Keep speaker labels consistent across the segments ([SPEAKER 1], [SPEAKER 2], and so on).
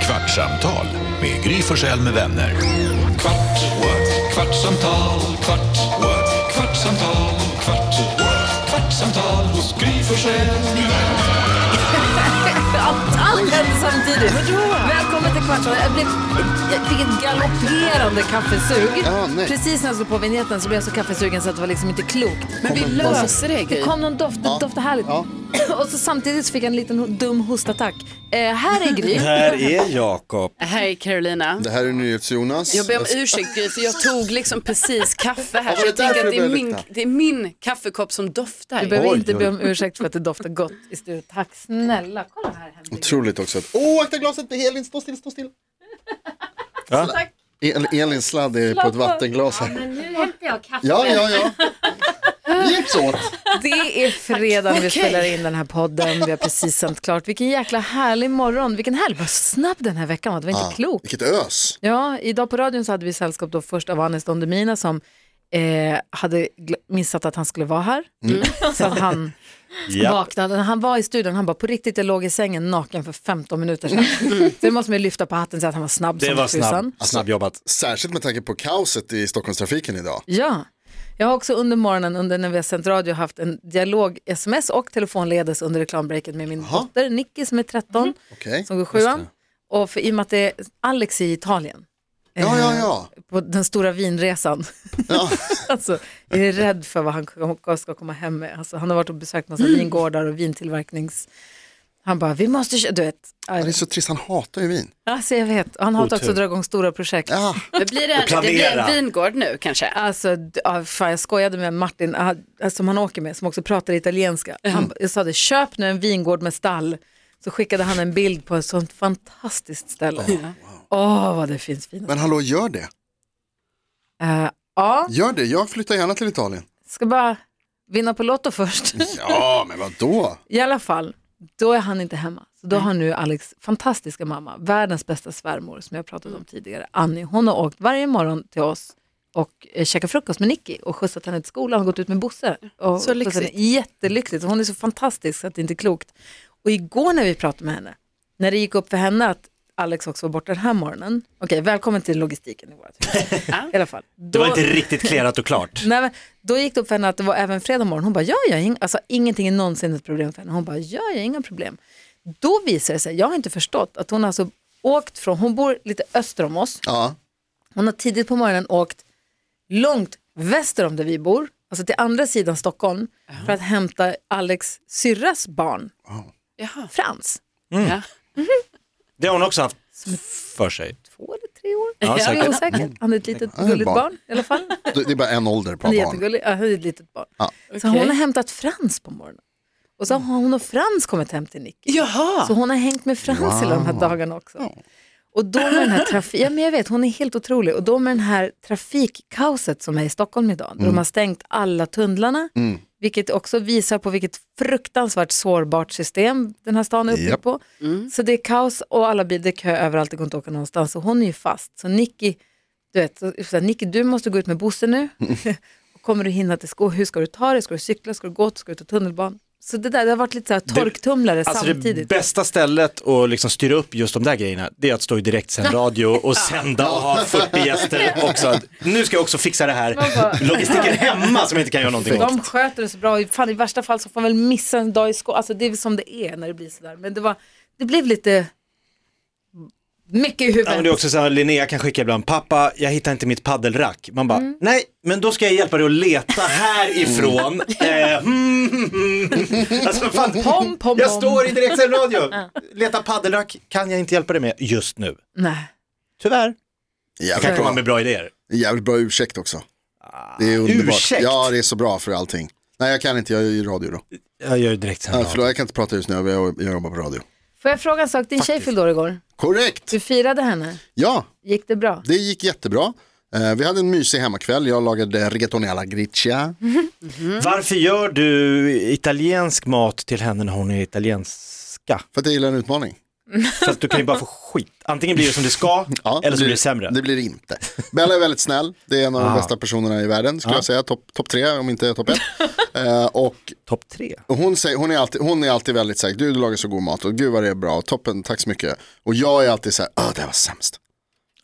[SPEAKER 1] Kvartsamtal med Gry Forssell med vänner. Kvart, what? kvartsamtal, kvart, what? kvartsamtal, kvart, what? kvartsamtal hos Gry Forssell med vänner.
[SPEAKER 2] Allt hände samtidigt. Välkommen till Kvartsamtal. Jag, blev, jag fick ett galopperande kaffesug.
[SPEAKER 3] Ja, nej.
[SPEAKER 2] Precis när jag slog på vignetten så blev jag så kaffesugen så att det var liksom inte klokt.
[SPEAKER 4] Men vi löser det,
[SPEAKER 2] Det
[SPEAKER 4] Gry.
[SPEAKER 2] kom någon doft, det doftade härligt.
[SPEAKER 3] Ja.
[SPEAKER 2] Och så samtidigt så fick jag en liten ho- dum hostattack. Eh, här är Gry.
[SPEAKER 5] Här är Jakob.
[SPEAKER 4] Hej Carolina.
[SPEAKER 3] Det här är NyhetsJonas.
[SPEAKER 4] Jag ber om ursäkt Gry, för jag tog liksom precis kaffe här.
[SPEAKER 3] Alltså- Ja,
[SPEAKER 4] Så
[SPEAKER 3] var det
[SPEAKER 4] jag tänker
[SPEAKER 3] därför
[SPEAKER 4] att det är,
[SPEAKER 3] det
[SPEAKER 4] min,
[SPEAKER 3] började lukta?
[SPEAKER 4] det är min kaffekopp som doftar.
[SPEAKER 2] Du behöver
[SPEAKER 3] Oj,
[SPEAKER 2] inte
[SPEAKER 3] oj.
[SPEAKER 2] be om ursäkt för att det doftar gott i studion. Tack snälla. Kolla här Henrik.
[SPEAKER 3] Otroligt också att, åh akta glaset, det är Elin, stå still, stå still.
[SPEAKER 5] Ja.
[SPEAKER 3] El, Elin sladd är på ett vattenglas här.
[SPEAKER 6] Nu hämtar jag kaffe.
[SPEAKER 3] Ja, ja, ja. Vi hjälps åt.
[SPEAKER 2] Det är fredag när vi spelar in den här podden. Vi har precis sänt klart. Vilken jäkla härlig morgon. Vilken härlig, vad snabb den här veckan var. Det var inte
[SPEAKER 3] Ah,
[SPEAKER 2] klokt.
[SPEAKER 3] Vilket ös.
[SPEAKER 2] Ja, idag på radion så hade vi sällskap då först av Anis Don Demina som eh, hade gl- missat att han skulle vara här. Mm. Så att han
[SPEAKER 5] Mm. Ja.
[SPEAKER 2] vaknade. När han var i studion, han bara på riktigt, jag låg i sängen naken för 15 minuter sedan. Så det måste man ju lyfta på hatten så att han var snabb
[SPEAKER 5] Mm. Det
[SPEAKER 2] som
[SPEAKER 5] var
[SPEAKER 2] tusan.
[SPEAKER 5] snabb, snabbjobbat.
[SPEAKER 3] Särskilt med tanke på kaoset i Stockholmstrafiken idag.
[SPEAKER 2] Ja. Jag har också under morgonen, under när vi har sänt radio, haft en dialog, sms och telefonledes under reklambreaket med min dotter Nicky som är 13,
[SPEAKER 5] Mm.
[SPEAKER 3] Okej.
[SPEAKER 2] som går sjuan. Och för, i och med att det är Alex i Italien,
[SPEAKER 3] Ja, ja, ja.
[SPEAKER 2] på den stora vinresan,
[SPEAKER 3] ja.
[SPEAKER 2] alltså, jag är rädd för vad han kom- ska komma hem med. Alltså, han har varit och besökt massa
[SPEAKER 3] Mm.
[SPEAKER 2] vingårdar och vintillverknings... Han bara, vi måste köra, du vet.
[SPEAKER 3] Han är så trist, han hatar ju vin. Ah,
[SPEAKER 2] Alltså, jag vet, Och han hatar också
[SPEAKER 5] Otur.
[SPEAKER 2] att dra igång stora projekt.
[SPEAKER 3] Ja.
[SPEAKER 4] Men blir det, det
[SPEAKER 5] planera.
[SPEAKER 4] blir en vingård nu kanske.
[SPEAKER 2] Alltså, d- ja, fan, jag skojade med Martin ah, som han åker med, som också pratar italienska. Han, jag sa det, köp nu en vingård med stall. Så skickade han en bild på ett sånt fantastiskt ställe. Åh, vad det finns fina.
[SPEAKER 3] Men hallå, gör det.
[SPEAKER 2] Eh, ja,
[SPEAKER 3] Gör det, jag flyttar gärna till Italien.
[SPEAKER 2] ska bara vinna på Lotto först.
[SPEAKER 3] Ja, men vadå?
[SPEAKER 2] I alla fall, då är han inte hemma. Så då har nu Alex fantastiska mamma, världens bästa svärmor som jag pratat
[SPEAKER 4] Mm.
[SPEAKER 2] om tidigare, Annie, hon har åkt varje morgon till oss och eh, käkat frukost med Nicky och skjutsat henne till skolan och gått ut med Bosse. Och
[SPEAKER 4] Så
[SPEAKER 2] skjutsat henne.
[SPEAKER 4] lyxigt.
[SPEAKER 2] Jättelyxigt. Hon är så fantastisk så att det inte är klokt. Och igår när vi pratade med henne, när det gick upp för henne att Alex också var borta den här morgonen. Okej, välkommen till logistiken i vårt hus. I alla fall.
[SPEAKER 5] Det var
[SPEAKER 2] Då-
[SPEAKER 5] inte riktigt klerat och klart.
[SPEAKER 2] Nej, men då gick det upp för henne att det var även fredag morgon. Hon bara, ja, ja, ing-. alltså, ingenting är någonsin ett problem för henne. Hon bara, ja, ja, inga problem. Då visar det sig, jag har inte förstått att hon alltså åkt från, hon bor lite öster om oss.
[SPEAKER 3] Ja,
[SPEAKER 2] Hon har tidigt på morgonen åkt långt väster om där vi bor, alltså till andra sidan Stockholm, för att hämta Alex syrras barn,
[SPEAKER 4] Jaha.
[SPEAKER 2] Frans.
[SPEAKER 4] Ja.
[SPEAKER 5] Det har hon också haft för sig.
[SPEAKER 2] Två eller tre år?
[SPEAKER 5] Ja,
[SPEAKER 2] jag är
[SPEAKER 5] säkert.
[SPEAKER 2] osäker. Han är ett litet
[SPEAKER 3] Ja, det är
[SPEAKER 2] gulligt
[SPEAKER 3] barn.
[SPEAKER 2] barn i alla fall.
[SPEAKER 3] det det är bara en ålder på
[SPEAKER 2] Han är
[SPEAKER 3] barn.
[SPEAKER 2] jättegullig. Ja, han är ett litet barn.
[SPEAKER 3] Ja.
[SPEAKER 2] Så
[SPEAKER 4] Okej.
[SPEAKER 2] hon har hämtat Frans på morgonen. Och så har hon och Frans kommit hem till Nicky.
[SPEAKER 4] Jaha.
[SPEAKER 2] Så hon har hängt med Frans hela de här dagarna också. Och då med den här trafik, ja men jag vet, hon är helt otrolig. Och då med den här trafikkaoset som är i Stockholm idag, där
[SPEAKER 5] Mm.
[SPEAKER 2] de har stängt alla tunnlarna, vilket också visar på vilket fruktansvärt sårbart system den här stan är uppbyggd
[SPEAKER 3] Japp.
[SPEAKER 2] på. Så det är kaos och alla bilar, det är kö överallt, det går inte att åka någonstans. Och hon är ju fast. Så Nicky, du vet, så, så här, Nicky du måste gå ut med Bosse nu.
[SPEAKER 5] Mm.
[SPEAKER 2] Och Kommer du hinna till skolan? Hur ska du ta dig? Ska du cykla? Ska du gå? Ska du ta tunnelbanan? Så det där, det har varit lite så här torktumlare
[SPEAKER 5] Alltså det
[SPEAKER 2] samtidigt.
[SPEAKER 5] bästa stället att liksom styra upp just de där grejerna, det är att stå i direktsänd radio och sända och ha 40 gäster också. Nu ska jag också fixa det här. Logistiken hemma som jag inte kan göra någonting åt.
[SPEAKER 2] De sköter det så bra. Fan, I värsta fall så får man väl missa en dag i skolan. Alltså, det är väl som det är när det blir sådär. Men det, var, det blev lite mycket i
[SPEAKER 5] Ja,
[SPEAKER 2] huvudet.
[SPEAKER 5] men det är också så här, Linnea kan skicka ibland, pappa jag hittar inte mitt paddelrack. Man bara,
[SPEAKER 2] Mm.
[SPEAKER 5] nej men då ska jag hjälpa dig att leta härifrån. eh, mm, mm, mm. Alltså, fan,
[SPEAKER 2] Pom, pom,
[SPEAKER 5] jag
[SPEAKER 2] pom.
[SPEAKER 5] står i direktsänd radio, leta paddelrack kan jag inte hjälpa dig med just nu.
[SPEAKER 2] Nej.
[SPEAKER 5] Tyvärr. Jag kan
[SPEAKER 3] Jävligt
[SPEAKER 5] komma
[SPEAKER 3] bra.
[SPEAKER 5] med bra idéer.
[SPEAKER 3] Jävligt bra ursäkt också. Det är underbart.
[SPEAKER 5] ursäkt?
[SPEAKER 3] Ja, det är så bra för allting. Nej, jag kan inte, jag är i radio då.
[SPEAKER 5] Jag gör direktsänd
[SPEAKER 3] Ja,
[SPEAKER 5] radio.
[SPEAKER 3] förlåt, jag kan inte prata just nu, jag, jag jobbar på radio.
[SPEAKER 2] Får jag fråga en sak? Din tjej fyllde år igår.
[SPEAKER 3] Korrekt!
[SPEAKER 2] Du firade henne.
[SPEAKER 3] Ja,
[SPEAKER 2] Gick det bra?
[SPEAKER 3] det gick jättebra. Eh, vi hade en mysig hemmakväll, jag lagade rigatoni alla gricia.
[SPEAKER 5] Varför gör du italiensk mat till henne när hon är italienska?
[SPEAKER 3] För att jag gillar en utmaning.
[SPEAKER 5] Så att du kan ju bara få skit. Antingen blir det som det ska,
[SPEAKER 3] Ja,
[SPEAKER 5] eller så blir det sämre. Ah.
[SPEAKER 3] Det blir det inte. Bella är väldigt snäll. Det är en av de bästa personerna i världen skulle jag säga. Topp top tre om inte topp ett. Eh, och
[SPEAKER 5] Topp tre.
[SPEAKER 3] hon, säger, hon, är alltid, hon är alltid väldigt så här, du, du lagar så god mat och gud vad det är bra, toppen, tack så mycket. Och jag är alltid så här, ah det här var sämst.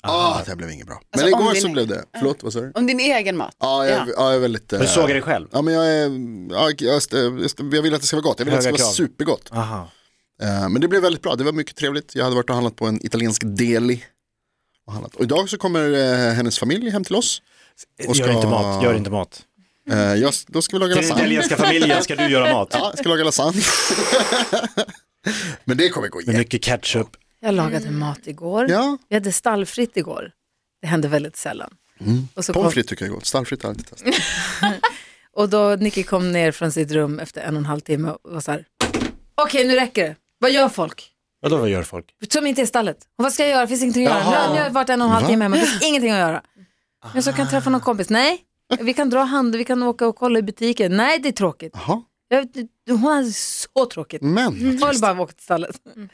[SPEAKER 3] Ah, det här blev inget bra. Men
[SPEAKER 4] Alltså, om
[SPEAKER 3] igår
[SPEAKER 4] din-
[SPEAKER 3] så blev det, förlåt vad sa du?
[SPEAKER 4] Om din egen mat.
[SPEAKER 3] Ja, jag, ja. jag är väldigt... eh,
[SPEAKER 5] Du sågar dig själv.
[SPEAKER 3] Ja, men jag, är, ja, jag, jag, jag vill att det ska vara gott, jag vill att det
[SPEAKER 5] Höga
[SPEAKER 3] ska vara
[SPEAKER 5] krav.
[SPEAKER 3] supergott.
[SPEAKER 5] Aha.
[SPEAKER 3] Eh, Men det blev väldigt bra, det var mycket trevligt. Jag hade varit och handlat på en italiensk deli. Och, handlat. och idag så kommer eh, hennes familj hem till oss. Och
[SPEAKER 5] Gör
[SPEAKER 3] ska-
[SPEAKER 5] inte mat, gör inte mat.
[SPEAKER 3] Eh, Jag, då ska vi laga
[SPEAKER 5] Till den
[SPEAKER 3] lasagne.
[SPEAKER 5] italienska familjen ska du göra mat.
[SPEAKER 3] Ja, jag ska laga lasagne. men det kommer gå
[SPEAKER 5] Med
[SPEAKER 3] igen.
[SPEAKER 5] mycket ketchup.
[SPEAKER 2] Jag lagade
[SPEAKER 5] Mm.
[SPEAKER 2] mat igår.
[SPEAKER 3] Ja.
[SPEAKER 2] Vi hade stallfritt igår. Det hände väldigt sällan.
[SPEAKER 5] Mm.
[SPEAKER 2] Och, så kom,
[SPEAKER 3] Pommes frites tycker jag är gott, stallfritt har jag inte testat.
[SPEAKER 2] och då Nicky kom ner från sitt rum efter en och en halv timme och var så här, okej nu räcker det. Vad gör folk?
[SPEAKER 5] Vadå vad gör folk?
[SPEAKER 2] Som inte är stallet. Och vad ska jag göra? Finns ingenting att göra.
[SPEAKER 5] Jaha.
[SPEAKER 2] Nu har jag varit en och en halv
[SPEAKER 3] Va?
[SPEAKER 2] timme hemma. Finns ingenting att göra. Men så kan jag träffa någon kompis. Nej, vi kan dra hand, vi kan åka och kolla i butiken. Nej, det är tråkigt.
[SPEAKER 3] Jaha,
[SPEAKER 2] Jag, hon hade så tråkigt.
[SPEAKER 3] men.
[SPEAKER 2] Jag vill bara åka till stallet.
[SPEAKER 3] Mm.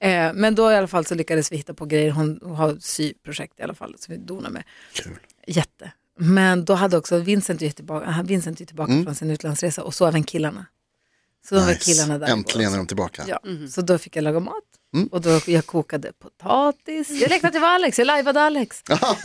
[SPEAKER 2] Eh, men då i alla fall så lyckades vi hitta på grejer. Hon hon har syprojekt i alla fall som vi donar med.
[SPEAKER 3] Kul.
[SPEAKER 2] Jätte. Men då hade också Vincent ju tillbaka, han- Vincent ju tillbaka från sin utlandsresa och så även killarna. Så de var
[SPEAKER 3] Mm. Nice.
[SPEAKER 2] killarna där.
[SPEAKER 3] Äntligen är de tillbaka.
[SPEAKER 2] Ja, Mm. så då fick jag laga mat. Och då, jag kokade potatis. Jag lekte att det var Alex, jag lajvade Alex.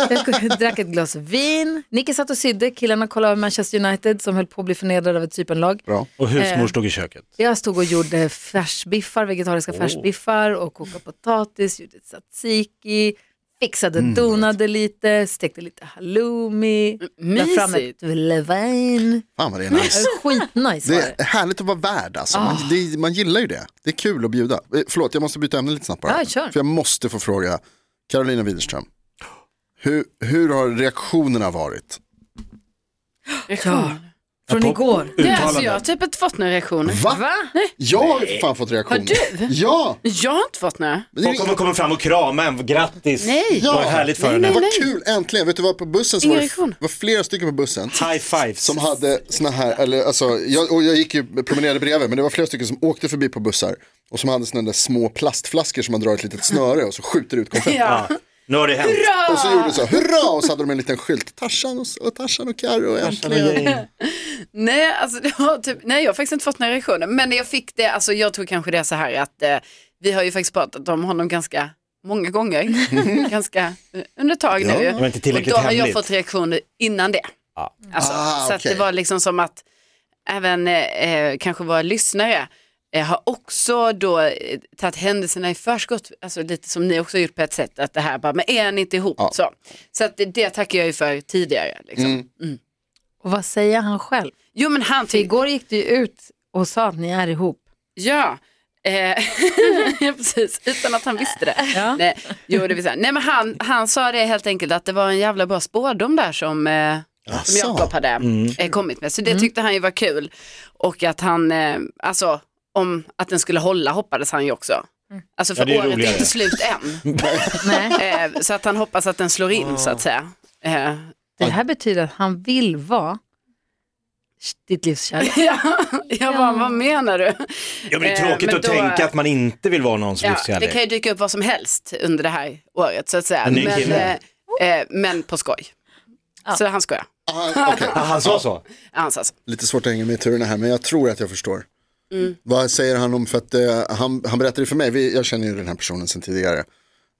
[SPEAKER 2] jag ko- drack ett glas vin. Nicky satt och sydde, killarna kollade över Manchester United som höll på att bli förnedrade av ett typenlag.
[SPEAKER 3] Bra.
[SPEAKER 5] Och husmor
[SPEAKER 2] Eh.
[SPEAKER 5] stod i köket.
[SPEAKER 2] Jag stod och gjorde färsbiffar, vegetariska färsbiffar och kokade potatis, gjorde tzatziki, fixade, donade lite, stekte lite halloumi, la fram ett
[SPEAKER 4] Mysigt.
[SPEAKER 2] levain.
[SPEAKER 3] Fan vad det är nice.
[SPEAKER 2] Skitnice var det.
[SPEAKER 3] Det är härligt att vara värd alltså. Man, det, man gillar ju det. Det är kul att bjuda. Eh, Förlåt, jag måste byta ämne lite snabbt bara.
[SPEAKER 2] Ja, kör.
[SPEAKER 3] För jag måste få fråga, Carolina Widerström, hur, hur har reaktionerna varit?
[SPEAKER 2] Ja. Från
[SPEAKER 5] På-
[SPEAKER 2] igår.
[SPEAKER 4] Det, alltså, jag
[SPEAKER 5] Uttalanden.
[SPEAKER 4] har typ inte fått några reaktioner.
[SPEAKER 3] Va? Jag har ju för fan fått reaktioner.
[SPEAKER 4] Har du?
[SPEAKER 3] Ja!
[SPEAKER 4] Jag har inte fått några.
[SPEAKER 3] Men det är
[SPEAKER 5] Folk
[SPEAKER 3] ju-
[SPEAKER 5] kommer komma fram och krama en, grattis.
[SPEAKER 4] Nej.
[SPEAKER 5] Vad härligt för henne.
[SPEAKER 3] Vad
[SPEAKER 4] nej.
[SPEAKER 3] kul, äntligen. Vet du vad, på bussen så
[SPEAKER 4] Ingen
[SPEAKER 3] var,
[SPEAKER 4] reaktion.
[SPEAKER 3] det, var flera stycken på bussen
[SPEAKER 5] High fives.
[SPEAKER 3] som hade såna här, eller alltså, jag, och jag gick ju, promenerade bredvid, men det var flera stycken som åkte förbi på bussar och som hade såna där små plastflaskor som man drar ett litet snöre och så skjuter ut konfetti.
[SPEAKER 4] Ja.
[SPEAKER 5] Nu har det hänt.
[SPEAKER 3] Och så gjorde så, hurra, och så hade de en liten skylt, Tarzan och, och Tarzan och Carro, äntligen.
[SPEAKER 4] Nej, alltså, det var typ, nej, jag har faktiskt inte fått några reaktioner. Men jag fick det, alltså, jag tror kanske det är så här att eh, vi har ju faktiskt pratat om honom ganska många gånger. ganska eh, under ett tag nu.
[SPEAKER 3] Ja.
[SPEAKER 5] Det var inte tillräckligt
[SPEAKER 4] och då har jag
[SPEAKER 5] hemligt.
[SPEAKER 4] fått reaktioner innan det. Alltså,
[SPEAKER 3] Ah,
[SPEAKER 4] så att
[SPEAKER 3] okej.
[SPEAKER 4] det var liksom som att även eh, eh, kanske våra lyssnare eh, har också då eh, tagit händelserna i förskott, alltså lite som ni också har gjort på ett sätt, att det här bara, men är ni inte ihop?
[SPEAKER 3] Ja.
[SPEAKER 4] Så, så att det, det tackar jag ju för tidigare. Liksom.
[SPEAKER 5] Mm.
[SPEAKER 2] Och vad säger han själv?
[SPEAKER 4] Jo men han
[SPEAKER 2] För
[SPEAKER 4] tycker
[SPEAKER 2] igår gick du ju ut och sa att ni är ihop.
[SPEAKER 4] Ja, eh, ja, precis, utan att han visste det.
[SPEAKER 2] Ja.
[SPEAKER 4] Nej, jo, det vill säga. Nej, men han, han sa det helt enkelt att det var en jävla bra spårdom där som, eh,
[SPEAKER 3] Asså.
[SPEAKER 4] som Jakob hade
[SPEAKER 5] Mm.
[SPEAKER 4] eh, kommit med. Så det tyckte han ju var kul. Och att han, eh, alltså om att den skulle hålla hoppades han ju också. Alltså
[SPEAKER 5] Ja,
[SPEAKER 4] för
[SPEAKER 5] det är
[SPEAKER 4] året är
[SPEAKER 5] roligare.
[SPEAKER 4] inte slut än.
[SPEAKER 2] Nej.
[SPEAKER 4] eh, så att han hoppas att den slår in så att säga. Eh,
[SPEAKER 2] Det här betyder att han vill vara ditt livs kärlek.
[SPEAKER 4] ja, jag bara, vad menar du?
[SPEAKER 5] Ja, men det är
[SPEAKER 4] Eh,
[SPEAKER 5] tråkigt
[SPEAKER 4] men
[SPEAKER 5] att
[SPEAKER 4] då-
[SPEAKER 5] tänka att man inte vill vara någons
[SPEAKER 4] Ja, det
[SPEAKER 5] livskärlek.
[SPEAKER 4] kan ju dyka upp vad som helst under det här året så att säga.
[SPEAKER 5] En ny
[SPEAKER 4] Men,
[SPEAKER 5] kille.
[SPEAKER 4] eh, eh, men på skoj. Så han skojar.
[SPEAKER 3] Ah, okej.
[SPEAKER 5] Ah, han sa så.
[SPEAKER 4] Ja, Han sa så.
[SPEAKER 3] Lite svårt att hänga med i turerna här, men jag tror att jag förstår. Vad säger han om, för att eh, han, han berättade ju för mig, vi, jag känner ju den här personen sedan tidigare.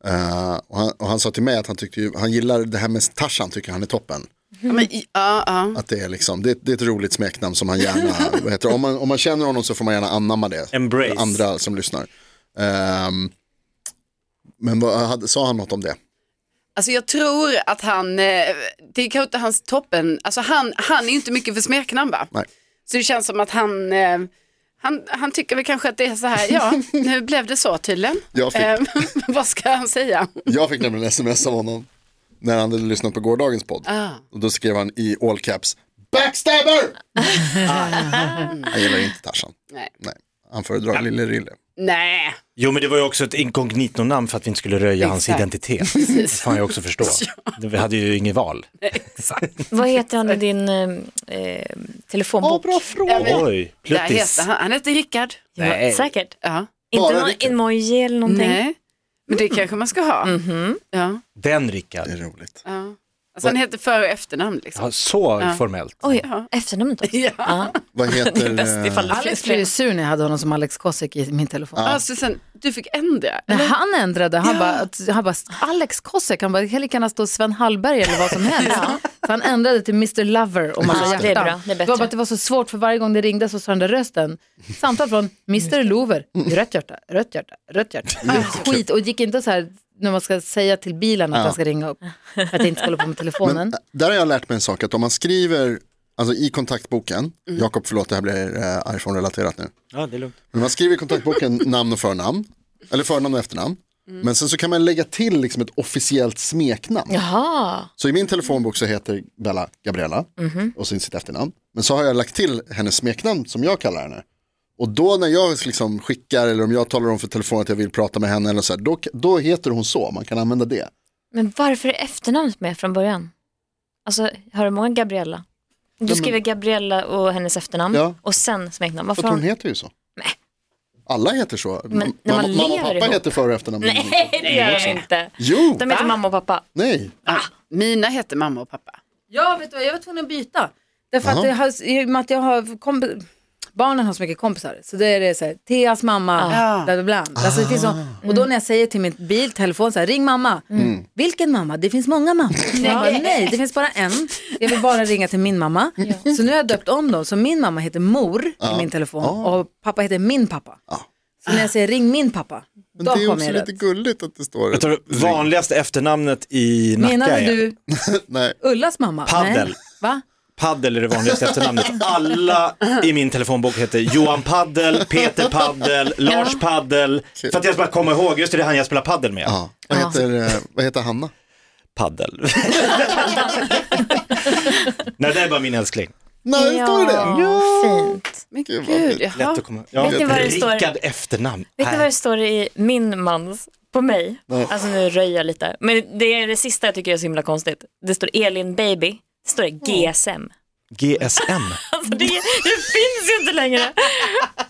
[SPEAKER 3] Eh, och, han, och han sa till mig att han tyckte ju, han gillar det här med Tarzan, tycker han är toppen.
[SPEAKER 4] Ja, men, i- ja, ja.
[SPEAKER 3] Att det är liksom, det, det är ett roligt smeknamn som han gärna, vad heter det? om, man, om man känner honom så får man gärna anamma det.
[SPEAKER 5] Embrace.
[SPEAKER 3] Andra som lyssnar. Ehm, men vad, hade, sa han något om det?
[SPEAKER 4] Alltså jag tror att han, eh, det är kanske inte hans toppen, alltså han, han är ju inte mycket för smeknamn va?
[SPEAKER 3] Nej.
[SPEAKER 4] Så det känns som att han, eh, han, han tycker väl kanske att det är så här, ja nu blev det så tydligen.
[SPEAKER 3] Jag fick-
[SPEAKER 4] Eh, vad ska han säga?
[SPEAKER 3] Jag fick nämligen sms av honom när han hade lyssnat på gårdagens podd.
[SPEAKER 4] Ah.
[SPEAKER 3] Och då skrev han i all caps, backstabber! Han gillar inte Tarzan.
[SPEAKER 4] Nej.
[SPEAKER 3] Nej, han föredrar Lille Rille.
[SPEAKER 4] Nej,
[SPEAKER 5] Jo, men det var ju också ett inkognito-namn för att vi inte skulle röja hans
[SPEAKER 4] Exakt.
[SPEAKER 5] identitet. Det får jag också förstå. Vi hade ju inget val.
[SPEAKER 6] Vad heter han i din eh, eh, telefonbok?
[SPEAKER 3] bra fråga.
[SPEAKER 4] Ja, men-
[SPEAKER 5] Oj,
[SPEAKER 4] där heter
[SPEAKER 5] pluttis.
[SPEAKER 4] han, han heter Rickard.
[SPEAKER 6] Ja, Säkert.
[SPEAKER 4] Ja.
[SPEAKER 6] Inte
[SPEAKER 3] Bara
[SPEAKER 6] någon
[SPEAKER 3] Rickard.
[SPEAKER 6] emoji eller någonting.
[SPEAKER 4] Nej, men det kanske man ska ha. Ja,
[SPEAKER 5] Den Rickard.
[SPEAKER 3] Det är roligt.
[SPEAKER 4] ja. Alltså han heter för och efternamn liksom.
[SPEAKER 5] Ja, så formellt.
[SPEAKER 6] Oj, efternamnet också.
[SPEAKER 4] Ja.
[SPEAKER 6] Ja.
[SPEAKER 3] Vad
[SPEAKER 6] Det är
[SPEAKER 3] heter...
[SPEAKER 6] bäst ifall
[SPEAKER 3] eh,
[SPEAKER 6] det
[SPEAKER 2] Alex
[SPEAKER 6] finns
[SPEAKER 2] blev
[SPEAKER 6] fler.
[SPEAKER 2] ju sur när jag hade honom som Alex Kosek i min telefon.
[SPEAKER 4] Ja, Susanne, du fick ändra.
[SPEAKER 2] Men han ändrade, han, bara, han bara, Alex Kosek, han bara, det kan lika gärna stå Sven Hallberg eller vad som helst. Så han ändrade till Mr Lover och massa
[SPEAKER 6] Ja,
[SPEAKER 2] hjärtan.
[SPEAKER 6] det är bra, det är bättre.
[SPEAKER 2] var bara att det var så svårt för varje gång det ringde så sa den där rösten, samtal från Mr Lover, rött hjärta, rött hjärta, rött hjärta. Ah, Skit, och gick inte så här när man ska säga till bilen att den ska ringa upp, för att det inte ska hålla på med telefonen.
[SPEAKER 3] Men eh, där har jag lärt mig en sak, att om man skriver alltså i kontaktboken, Jakob förlåt det här blir eh, iPhone-relaterat nu,
[SPEAKER 5] Ja, det är lugnt.
[SPEAKER 3] men man skriver i kontaktboken namn och förnamn, eller förnamn och efternamn, men sen så kan man lägga till liksom ett officiellt smeknamn.
[SPEAKER 6] Jaha,
[SPEAKER 3] Så i min telefonbok så heter Bella Gabriella och sen sitt efternamn, men så har jag lagt till hennes smeknamn som jag kallar henne. Och då när jag liksom skickar eller om jag talar om för telefonen att jag vill prata med henne eller så här, då, då heter hon så, man kan använda det.
[SPEAKER 6] men varför är efternamnet med från början? Alltså, har du många Gabriella? Du skriver Gabriella och hennes efternamn
[SPEAKER 3] Ja.
[SPEAKER 6] och sen smeknamn.
[SPEAKER 3] För
[SPEAKER 6] Varför
[SPEAKER 3] att
[SPEAKER 6] har
[SPEAKER 3] hon
[SPEAKER 6] hon...
[SPEAKER 3] heter ju så. Alla heter så.
[SPEAKER 6] Men när
[SPEAKER 3] mamma,
[SPEAKER 6] man
[SPEAKER 3] mamma och
[SPEAKER 6] lever
[SPEAKER 3] pappa
[SPEAKER 6] ihop.
[SPEAKER 3] heter för och efternamn.
[SPEAKER 6] Nej, det gör de inte.
[SPEAKER 3] Jo,
[SPEAKER 6] De heter mamma och pappa.
[SPEAKER 3] nej.
[SPEAKER 4] Ah, mina heter mamma och pappa.
[SPEAKER 2] Ja, vet du vad, jag var tvungen att byta. Därför att
[SPEAKER 3] Jaha.
[SPEAKER 2] jag har, i och med att jag har komp- barnen har så mycket kompisar. Så det är det så här, Theas mamma,
[SPEAKER 4] Ah.
[SPEAKER 2] bla bla bla. Alltså, det finns
[SPEAKER 3] Ah.
[SPEAKER 2] så, och då när jag säger till min biltelefon så här, ring mamma.
[SPEAKER 3] Mm.
[SPEAKER 2] Vilken mamma? Det finns många mammor. nej. Bara, nej, det finns bara en. Jag vill bara ringa till min mamma. Så nu har jag döpt om dem. Så min mamma heter mor
[SPEAKER 3] Ah.
[SPEAKER 2] i min telefon och pappa heter min pappa. Så när jag säger ring min pappa,
[SPEAKER 3] Men
[SPEAKER 2] då
[SPEAKER 3] det är
[SPEAKER 2] kommer
[SPEAKER 3] också
[SPEAKER 2] jag
[SPEAKER 3] lite
[SPEAKER 2] rätt.
[SPEAKER 3] gulligt att det står.
[SPEAKER 5] Vet du, vanligaste efternamnet i Nacka
[SPEAKER 2] Menade
[SPEAKER 5] är
[SPEAKER 2] du
[SPEAKER 3] Nej.
[SPEAKER 2] Ullas mamma? Nej.
[SPEAKER 5] Paddel.
[SPEAKER 2] Va?
[SPEAKER 5] Paddel är det vanligaste efternamnet. Alla i min telefonbok heter Johan Paddel, Peter Paddel, Lars Paddel. För att jag ska bara komma ihåg, just det, det är han jag spelar paddel med.
[SPEAKER 3] Ja. Vad, heter, eh, vad heter Hanna?
[SPEAKER 5] Paddel. Nej, det är bara min älskling.
[SPEAKER 3] Nej, det står det det?
[SPEAKER 6] Ja, fint.
[SPEAKER 4] Men
[SPEAKER 3] Gud, vad
[SPEAKER 4] gud,
[SPEAKER 3] fint.
[SPEAKER 5] Lätt
[SPEAKER 4] jaha.
[SPEAKER 5] att komma ja.
[SPEAKER 6] Vet ni vad det står?
[SPEAKER 5] Rickard efternamn. Äh,
[SPEAKER 6] Vet ni vad det står i min mans, på mig? Alltså nu röjer jag lite. Men det är det sista jag tycker är så himla konstigt. Det står Elin baby, det står GSM.
[SPEAKER 5] GSM.
[SPEAKER 6] Alltså det, det finns ju inte längre.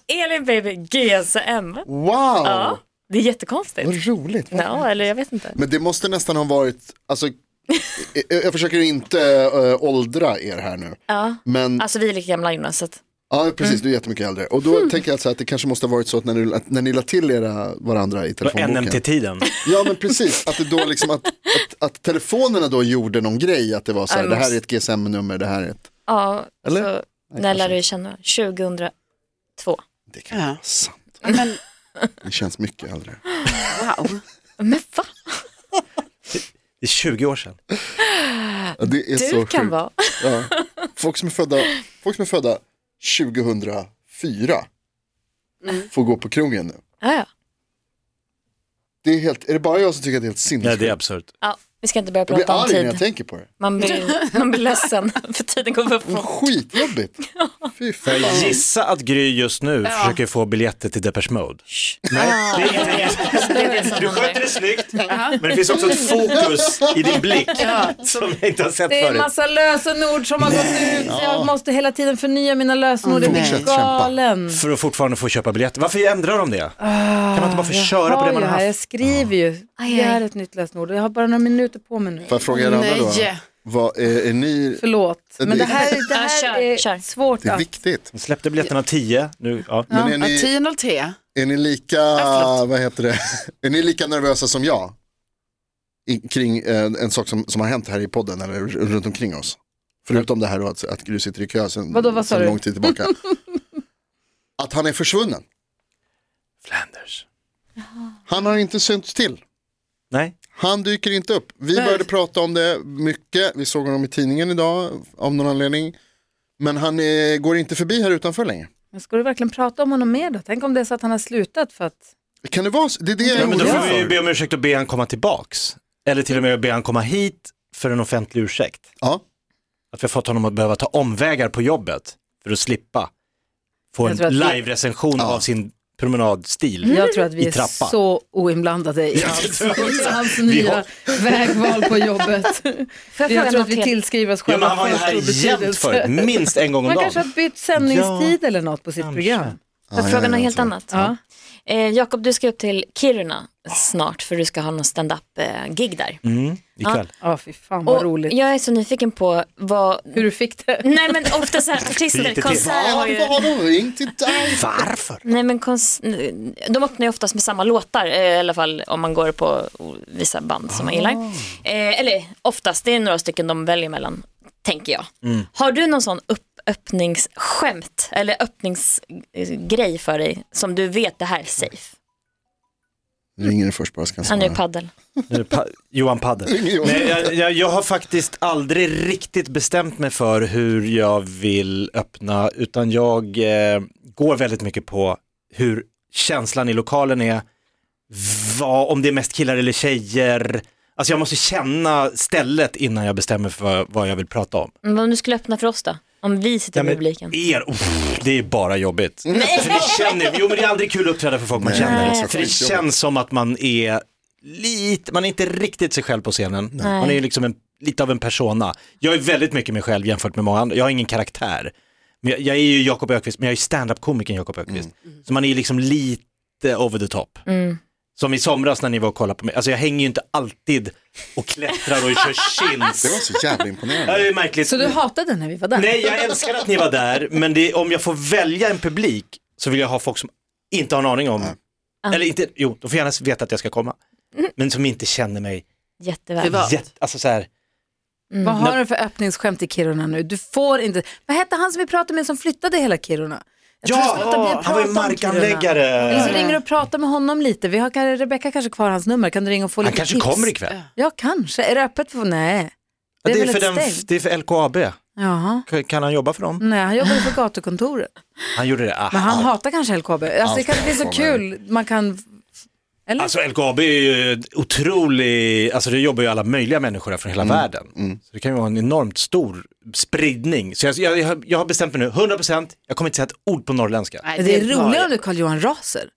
[SPEAKER 6] Elin baby, GSM.
[SPEAKER 3] Wow,
[SPEAKER 6] Ja, det är jättekonstigt.
[SPEAKER 3] vad roligt.
[SPEAKER 6] Ja, eller jag vet inte.
[SPEAKER 3] Men det måste nästan ha varit, alltså, jag, jag försöker inte äh, åldra er här nu.
[SPEAKER 6] Ja.
[SPEAKER 3] Men,
[SPEAKER 6] Alltså Mm. vi är lika gamla Jonas. Så att,
[SPEAKER 3] ja precis, du är jättemycket äldre. Och då tänker jag så här att det kanske måste ha varit så att när, du, att när ni la till era varandra i
[SPEAKER 5] Det var
[SPEAKER 3] telefonboken.
[SPEAKER 5] NMT-tiden.
[SPEAKER 3] Ja men precis, att, det då liksom att, att, att telefonerna då gjorde någon grej, att det var så här,
[SPEAKER 6] Ja,
[SPEAKER 3] det
[SPEAKER 6] det
[SPEAKER 3] här är ett GSM-nummer, det här är ett...
[SPEAKER 6] ja,
[SPEAKER 3] Eller?
[SPEAKER 6] Så, när lärde vi känna? 2002.
[SPEAKER 3] Det kan
[SPEAKER 4] Ja.
[SPEAKER 3] vara sant.
[SPEAKER 4] Ja, Men,
[SPEAKER 3] Det känns mycket äldre.
[SPEAKER 4] wow.
[SPEAKER 6] Men va?
[SPEAKER 5] Det är 20 år sedan.
[SPEAKER 3] Ja, det är
[SPEAKER 6] Du
[SPEAKER 3] så
[SPEAKER 6] kan
[SPEAKER 3] sjukt.
[SPEAKER 6] vara.
[SPEAKER 3] Ja. Folk, som är födda, folk som är födda 2004
[SPEAKER 6] Mm.
[SPEAKER 3] får gå på krogen nu.
[SPEAKER 6] Ja, ja.
[SPEAKER 3] Det är, helt, är det bara jag som tycker att det är helt
[SPEAKER 5] Nej,
[SPEAKER 3] sinnessjukt?
[SPEAKER 5] det är absurt.
[SPEAKER 6] ja, vi ska inte börja
[SPEAKER 3] jag blir
[SPEAKER 6] prata om
[SPEAKER 3] arg när jag
[SPEAKER 6] tid.
[SPEAKER 3] tänker på det.
[SPEAKER 6] Man blir, man blir ledsen för tiden går för
[SPEAKER 3] Vad
[SPEAKER 6] fort.
[SPEAKER 3] Skitjobbigt. Fy fan.
[SPEAKER 5] Gissa att Gry just nu försöker få biljetter till Depeche Mode. Nej, det är inte
[SPEAKER 6] Det är det som
[SPEAKER 5] Du sköter
[SPEAKER 6] händer.
[SPEAKER 5] det snyggt, men det finns också ett fokus i din blick som jag inte har sett
[SPEAKER 2] Det är en
[SPEAKER 5] förut.
[SPEAKER 2] massa lösenord som har gått ut. så Jag måste hela tiden förnya mina lösenord.
[SPEAKER 5] Mm.
[SPEAKER 2] Jag blir
[SPEAKER 3] Fortsätt kämpa.
[SPEAKER 2] galen.
[SPEAKER 5] För att fortfarande få köpa biljetter. Varför ändrar de det? Kan man inte bara få köra på det man har
[SPEAKER 2] Jag
[SPEAKER 5] haft?
[SPEAKER 2] skriver ju.
[SPEAKER 6] aj.
[SPEAKER 2] Det är ett nytt lösenord. Jag har bara några minuter på mig nu.
[SPEAKER 3] Får jag fråga er andra då?
[SPEAKER 4] Nej.
[SPEAKER 3] Vad är, är ni...
[SPEAKER 2] Förlåt. Men det här, det
[SPEAKER 6] Ja,
[SPEAKER 2] här
[SPEAKER 6] kör,
[SPEAKER 2] är
[SPEAKER 6] kör.
[SPEAKER 2] svårt
[SPEAKER 3] Det är
[SPEAKER 2] att...
[SPEAKER 3] viktigt.
[SPEAKER 5] De släppte biljetterna 10 nu. Ja.
[SPEAKER 3] Men är
[SPEAKER 4] Ja,
[SPEAKER 3] ni,
[SPEAKER 4] 10.03.
[SPEAKER 3] är ni lika,
[SPEAKER 2] Äh,
[SPEAKER 4] förlåt.
[SPEAKER 3] vad heter det, är ni lika nervösa som jag? I, kring eh, en sak som, som har hänt här i podden eller r- runt omkring oss? Förutom det här då att, att Gry sitter i kö sedan
[SPEAKER 2] Vadå, vad sa
[SPEAKER 3] sedan
[SPEAKER 2] du?
[SPEAKER 3] lång tid tillbaka. att han är försvunnen.
[SPEAKER 5] Flanders.
[SPEAKER 3] Han har inte synts till.
[SPEAKER 5] Nej,
[SPEAKER 3] Han dyker inte upp. Vi började prata om det mycket. Vi såg honom i tidningen idag av någon anledning. Men han eh, går inte förbi här utanför längre.
[SPEAKER 2] Men ska du verkligen prata om honom mer då? Tänk om det är så att han har slutat för att...
[SPEAKER 3] Kan det vara så? Det är det jag
[SPEAKER 5] ja,
[SPEAKER 3] är
[SPEAKER 5] men då
[SPEAKER 3] orolig
[SPEAKER 5] får vi ju
[SPEAKER 3] för.
[SPEAKER 5] be om ursäkt och be han komma tillbaks. Eller till och med be han komma hit för en offentlig ursäkt.
[SPEAKER 3] Ja.
[SPEAKER 5] Att vi har fått honom att behöva ta omvägar på jobbet för att slippa få
[SPEAKER 2] Jag
[SPEAKER 5] en
[SPEAKER 2] tror att Mm. vi-
[SPEAKER 5] live-recension av sin promenadstil.
[SPEAKER 2] Jag tror att
[SPEAKER 5] Mm. I
[SPEAKER 2] vi är
[SPEAKER 5] trappan.
[SPEAKER 2] så oinblandade i hans, i hans nya vägval på jobbet. Jag
[SPEAKER 6] fråga
[SPEAKER 2] tror att vi
[SPEAKER 6] något helt-
[SPEAKER 2] tillskriver oss
[SPEAKER 5] Ja, men
[SPEAKER 2] själva
[SPEAKER 5] han var ju
[SPEAKER 2] för
[SPEAKER 5] här
[SPEAKER 2] stor
[SPEAKER 5] jämt
[SPEAKER 2] betydelse.
[SPEAKER 5] förut, minst en gång om
[SPEAKER 2] Man kanske
[SPEAKER 5] dagen.
[SPEAKER 2] har bytt sändningstid eller något på sitt
[SPEAKER 5] kanske.
[SPEAKER 2] program.
[SPEAKER 6] Får jag fråga något helt annat?
[SPEAKER 2] Ja.
[SPEAKER 6] Eh, Eh, Jakob, du ska upp till Kiruna snart för du ska ha någon stand-up-gig där.
[SPEAKER 5] Mm, ikväll.
[SPEAKER 2] Ja, fy fan vad roligt.
[SPEAKER 6] jag är så nyfiken på vad...
[SPEAKER 2] Hur du fick det.
[SPEAKER 6] Nej men ofta så här
[SPEAKER 5] Lite
[SPEAKER 6] artister,
[SPEAKER 5] till.
[SPEAKER 6] konserter har ju...
[SPEAKER 3] Varför har de ringt till dig?
[SPEAKER 5] Varför?
[SPEAKER 6] Nej men konst... de öppnar ju oftast med samma låtar eh, i alla fall om man går på vissa band som man gillar.
[SPEAKER 5] Ah.
[SPEAKER 6] Eh, eller oftast, det är några stycken de väljer mellan, tänker jag.
[SPEAKER 5] Mm.
[SPEAKER 6] Har du någon sån upp öppningsskämt eller öppningsgrej för dig som du vet det här är safe?
[SPEAKER 3] Ringer du först bara så kan
[SPEAKER 6] Han
[SPEAKER 5] Mm.
[SPEAKER 6] är
[SPEAKER 3] jag svara.
[SPEAKER 6] paddel.
[SPEAKER 5] Nu är det pa- Johan Padden. Nej, jag, jag, jag har faktiskt aldrig riktigt bestämt mig för hur jag vill öppna, utan jag eh, går väldigt mycket på hur känslan i lokalen är, vad, om det är mest killar eller tjejer. Alltså jag måste känna stället innan jag bestämmer för vad, vad jag vill prata om.
[SPEAKER 6] Men om du skulle öppna för oss då? Om vi sitter
[SPEAKER 5] Ja,
[SPEAKER 6] i
[SPEAKER 5] men
[SPEAKER 6] publiken.
[SPEAKER 5] Er, uff, det är bara jobbigt. För det känner, jo men det är aldrig kul att uppträda för folk man
[SPEAKER 3] Nej,
[SPEAKER 5] känner.
[SPEAKER 3] det är så
[SPEAKER 5] För det
[SPEAKER 3] skitjobbigt.
[SPEAKER 5] känns som att man är lite, man är inte riktigt sig själv på scenen. Man är ju liksom en, lite av en persona. Jag är väldigt mycket mig själv jämfört med många andra, jag har ingen karaktär. Men jag, jag är ju Jakob Ökvist, men jag är standup-komikern Jakob
[SPEAKER 3] Mm.
[SPEAKER 5] Ökvist. Så man är ju liksom lite over the top.
[SPEAKER 3] Mm.
[SPEAKER 5] Som i somras när ni var och kollade på mig, alltså jag hänger ju inte alltid och klättrar och kör chins.
[SPEAKER 3] Det var så jävla
[SPEAKER 5] Ja,
[SPEAKER 3] imponerande.
[SPEAKER 5] Det är märkligt.
[SPEAKER 2] Så du hatade när vi var där?
[SPEAKER 5] Nej, jag älskar att ni var där, men det, om jag får välja en publik så vill jag ha folk som inte har en aning om,
[SPEAKER 2] Ah.
[SPEAKER 5] eller inte, jo, de får gärna veta att jag ska komma,
[SPEAKER 2] Mm.
[SPEAKER 5] men som inte känner mig
[SPEAKER 6] Jätteväl.
[SPEAKER 4] Privat.
[SPEAKER 5] jätte, alltså så här,
[SPEAKER 2] Vad har du för öppningsskämt i Kiruna nu? Du får inte... Vad hette han som vi pratade med som flyttade hela Kiruna? Jag tror jag slutar med
[SPEAKER 5] ja,
[SPEAKER 2] att
[SPEAKER 5] han var ju
[SPEAKER 2] prata om Kiruna. Eller så
[SPEAKER 5] markanläggare.
[SPEAKER 2] ringer du och pratar med honom lite. Vi har, kan- Rebecka kanske kvar hans nummer. Kan du ringa och få
[SPEAKER 5] Han
[SPEAKER 2] lite
[SPEAKER 5] kanske
[SPEAKER 2] tips?
[SPEAKER 5] kommer ikväll.
[SPEAKER 2] Ja, kanske. Är det öppet? För... Nej.
[SPEAKER 5] Det är,
[SPEAKER 2] väl
[SPEAKER 5] för
[SPEAKER 2] ett
[SPEAKER 5] den,
[SPEAKER 2] steg.
[SPEAKER 5] det är för LKAB,
[SPEAKER 2] Jaha.
[SPEAKER 5] Kan- kan han jobba för dem?
[SPEAKER 2] Nej, han jobbar ju på gatukontoret.
[SPEAKER 5] Han gjorde det,
[SPEAKER 2] Men
[SPEAKER 5] ah.
[SPEAKER 2] han hatar kanske LKB. Alltså, det kanske blir så
[SPEAKER 3] LKAB.
[SPEAKER 2] kul. Man kan... Eller?
[SPEAKER 5] Alltså LKAB är ju ett otrolig, alltså det jobbar ju alla möjliga människor här från
[SPEAKER 2] Mm.
[SPEAKER 5] hela världen. Så det kan ju vara en enormt stor spridning. Så jag, jag, jag har- jag har bestämt mig nu, 100%, jag kommer inte säga ett ord på norrländska.
[SPEAKER 4] Nej,
[SPEAKER 2] Men det är
[SPEAKER 4] bra.
[SPEAKER 2] roligare om du är Carl-Johan Raser.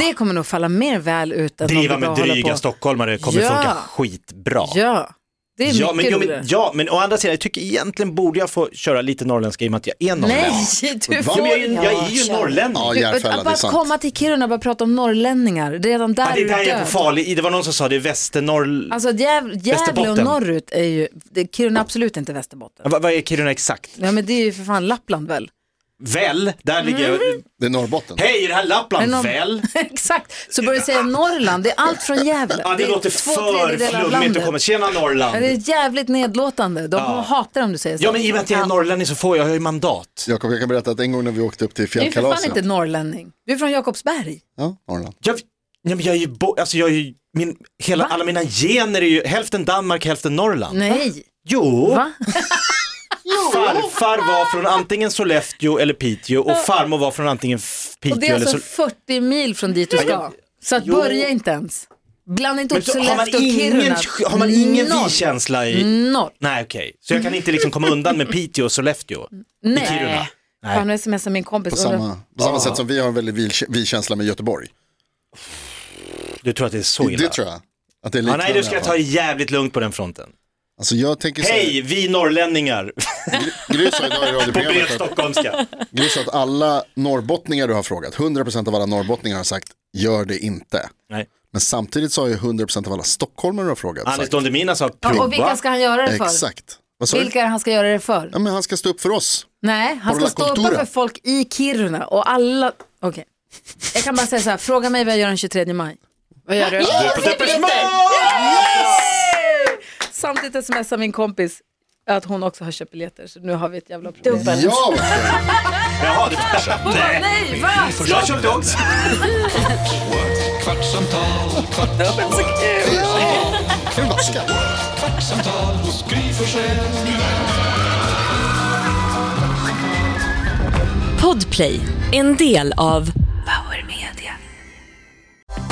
[SPEAKER 2] Det kommer nog falla mer väl ut än
[SPEAKER 5] driva
[SPEAKER 2] om du
[SPEAKER 5] med
[SPEAKER 2] bara håller
[SPEAKER 5] dryga
[SPEAKER 2] på.
[SPEAKER 5] stockholmare kommer
[SPEAKER 2] Ja.
[SPEAKER 5] funka skitbra.
[SPEAKER 2] Ja, det är
[SPEAKER 5] Ja men,
[SPEAKER 2] mycket
[SPEAKER 5] ja,
[SPEAKER 2] roligare.
[SPEAKER 5] men, ja, men å andra sidan, jag tycker egentligen borde jag få köra lite norrländska i och med att jag är norrlänning.
[SPEAKER 2] Nej, du
[SPEAKER 5] Ja,
[SPEAKER 2] får...
[SPEAKER 5] men jag, är ju- jag är ju
[SPEAKER 6] kör.
[SPEAKER 5] norrlänning.
[SPEAKER 3] Ja,
[SPEAKER 2] Du, att
[SPEAKER 3] Järfälla, det är
[SPEAKER 2] bara
[SPEAKER 3] sant.
[SPEAKER 2] komma till Kiruna och bara prata om norrlänningar, redan där
[SPEAKER 5] Ja, det är
[SPEAKER 2] är
[SPEAKER 5] där
[SPEAKER 2] du
[SPEAKER 5] jag är
[SPEAKER 2] död.
[SPEAKER 5] på farlig i. Det var någon som sa det, Västernorr...
[SPEAKER 2] Alltså Gäv- Gävle och
[SPEAKER 5] Västerbotten.
[SPEAKER 2] norrut är ju, det, Kiruna är absolut inte Västerbotten.
[SPEAKER 5] Vad, vad är Kiruna exakt?
[SPEAKER 2] Ja men det är ju för fan Lappland väl?
[SPEAKER 5] Väl, där ligger jag.
[SPEAKER 2] Mm.
[SPEAKER 3] Det är Norrbotten.
[SPEAKER 5] Hej, är det här Lappland?
[SPEAKER 2] Är det någon-
[SPEAKER 5] Väl?
[SPEAKER 2] Exakt, så börjar du säga Norrland, det är allt från Gävle.
[SPEAKER 5] Ja, det,
[SPEAKER 2] är
[SPEAKER 5] låter
[SPEAKER 2] två
[SPEAKER 5] för
[SPEAKER 2] tredjedelar av
[SPEAKER 5] flummigt
[SPEAKER 2] landet.
[SPEAKER 5] att komma. Tjena
[SPEAKER 2] Ja, Det
[SPEAKER 5] Norrland.
[SPEAKER 2] är jävligt nedlåtande, de kommer hata det om du säger så.
[SPEAKER 5] Ja, men i och med att jag är norrlänning så får jag, jag har ju mandat.
[SPEAKER 3] Jakob, jag kan berätta att en gång när vi åkte upp till
[SPEAKER 2] Du är ju för fan
[SPEAKER 3] fjällkalaset.
[SPEAKER 2] inte norrlänning, du är från Jakobsberg.
[SPEAKER 3] Ja, Norrland.
[SPEAKER 5] Jag, ja, men jag är ju, bo, alltså jag är ju, min, hela, alla mina gener är ju hälften Danmark, hälften Norrland.
[SPEAKER 2] Nej,
[SPEAKER 5] Jo.
[SPEAKER 2] va?
[SPEAKER 5] Farfar var från antingen Sollefteå eller Piteå och farmor var från antingen F-
[SPEAKER 2] Och det
[SPEAKER 5] Piteå
[SPEAKER 2] är
[SPEAKER 5] eller
[SPEAKER 2] alltså
[SPEAKER 5] Sollefteå.
[SPEAKER 2] 40 mil från dit du ska. Så att
[SPEAKER 5] Jo.
[SPEAKER 2] börja inte ens. Blanda inte upp
[SPEAKER 5] har man
[SPEAKER 2] Sollefteå och
[SPEAKER 5] ingen,
[SPEAKER 2] Kiruna. Mm.
[SPEAKER 5] har man ingen
[SPEAKER 2] Noll.
[SPEAKER 5] vi-känsla i...
[SPEAKER 2] Noll.
[SPEAKER 5] Nej okej, så jag kan inte liksom komma undan med Piteå och Sollefteå i Kiruna.
[SPEAKER 2] Nej.
[SPEAKER 5] Nej.
[SPEAKER 2] Fan, nu smsar min kompis.
[SPEAKER 3] På
[SPEAKER 2] undrar-
[SPEAKER 3] samma, på samma sätt som vi har en väldigt vil- vi-känsla med Göteborg.
[SPEAKER 5] Du tror att det är så illa?
[SPEAKER 3] Det tror jag. Att det är
[SPEAKER 5] Ja, nej,
[SPEAKER 3] liknande
[SPEAKER 5] du ska
[SPEAKER 3] i
[SPEAKER 5] jag
[SPEAKER 3] alla
[SPEAKER 5] ta
[SPEAKER 3] fall.
[SPEAKER 5] det jävligt lugnt på den fronten.
[SPEAKER 3] Alltså jag tänker så här,
[SPEAKER 5] Hej, vi norrlänningar
[SPEAKER 3] Gry sa idag i
[SPEAKER 5] på bred
[SPEAKER 3] radioprogrammet att,
[SPEAKER 5] stockholmska.
[SPEAKER 3] Gry sa att alla norrbottningar du har frågat, 100% av alla norrbottningar har sagt gör det inte.
[SPEAKER 5] Nej.
[SPEAKER 3] Men samtidigt sa ju 100% av alla stockholmare du har frågat
[SPEAKER 5] Anders
[SPEAKER 3] sagt,
[SPEAKER 5] Dondemina sa
[SPEAKER 2] Ja, och vilka
[SPEAKER 5] prova.
[SPEAKER 2] ska han göra det för?
[SPEAKER 3] exakt. Vad sa du?
[SPEAKER 2] Vilka är det han ska göra det för?
[SPEAKER 3] Ja, men han ska stå upp för oss.
[SPEAKER 2] Nej, han ska
[SPEAKER 3] Hålla
[SPEAKER 2] stå uppe
[SPEAKER 3] kontoret.
[SPEAKER 2] för folk i Kiruna och alla... Okej. Jag kan bara säga så här, fråga mig vad jag gör den 23 maj.
[SPEAKER 4] Vad gör du?
[SPEAKER 5] Du är på Depeche Mode!
[SPEAKER 2] Samtidigt smsar min kompis att hon också har köpt biljetter, så nu har vi ett jävla problem.
[SPEAKER 6] Dubbel.
[SPEAKER 3] Ja, vad kul.
[SPEAKER 5] Jaha, det var
[SPEAKER 2] Nej, va?
[SPEAKER 5] Jag köpte också.
[SPEAKER 1] What? Kvartsamtal, kvart, what?
[SPEAKER 3] Kul vaska.
[SPEAKER 1] kvartsamtal hos Gry Forssell med vänner.
[SPEAKER 7] Podplay, en del av Power Media.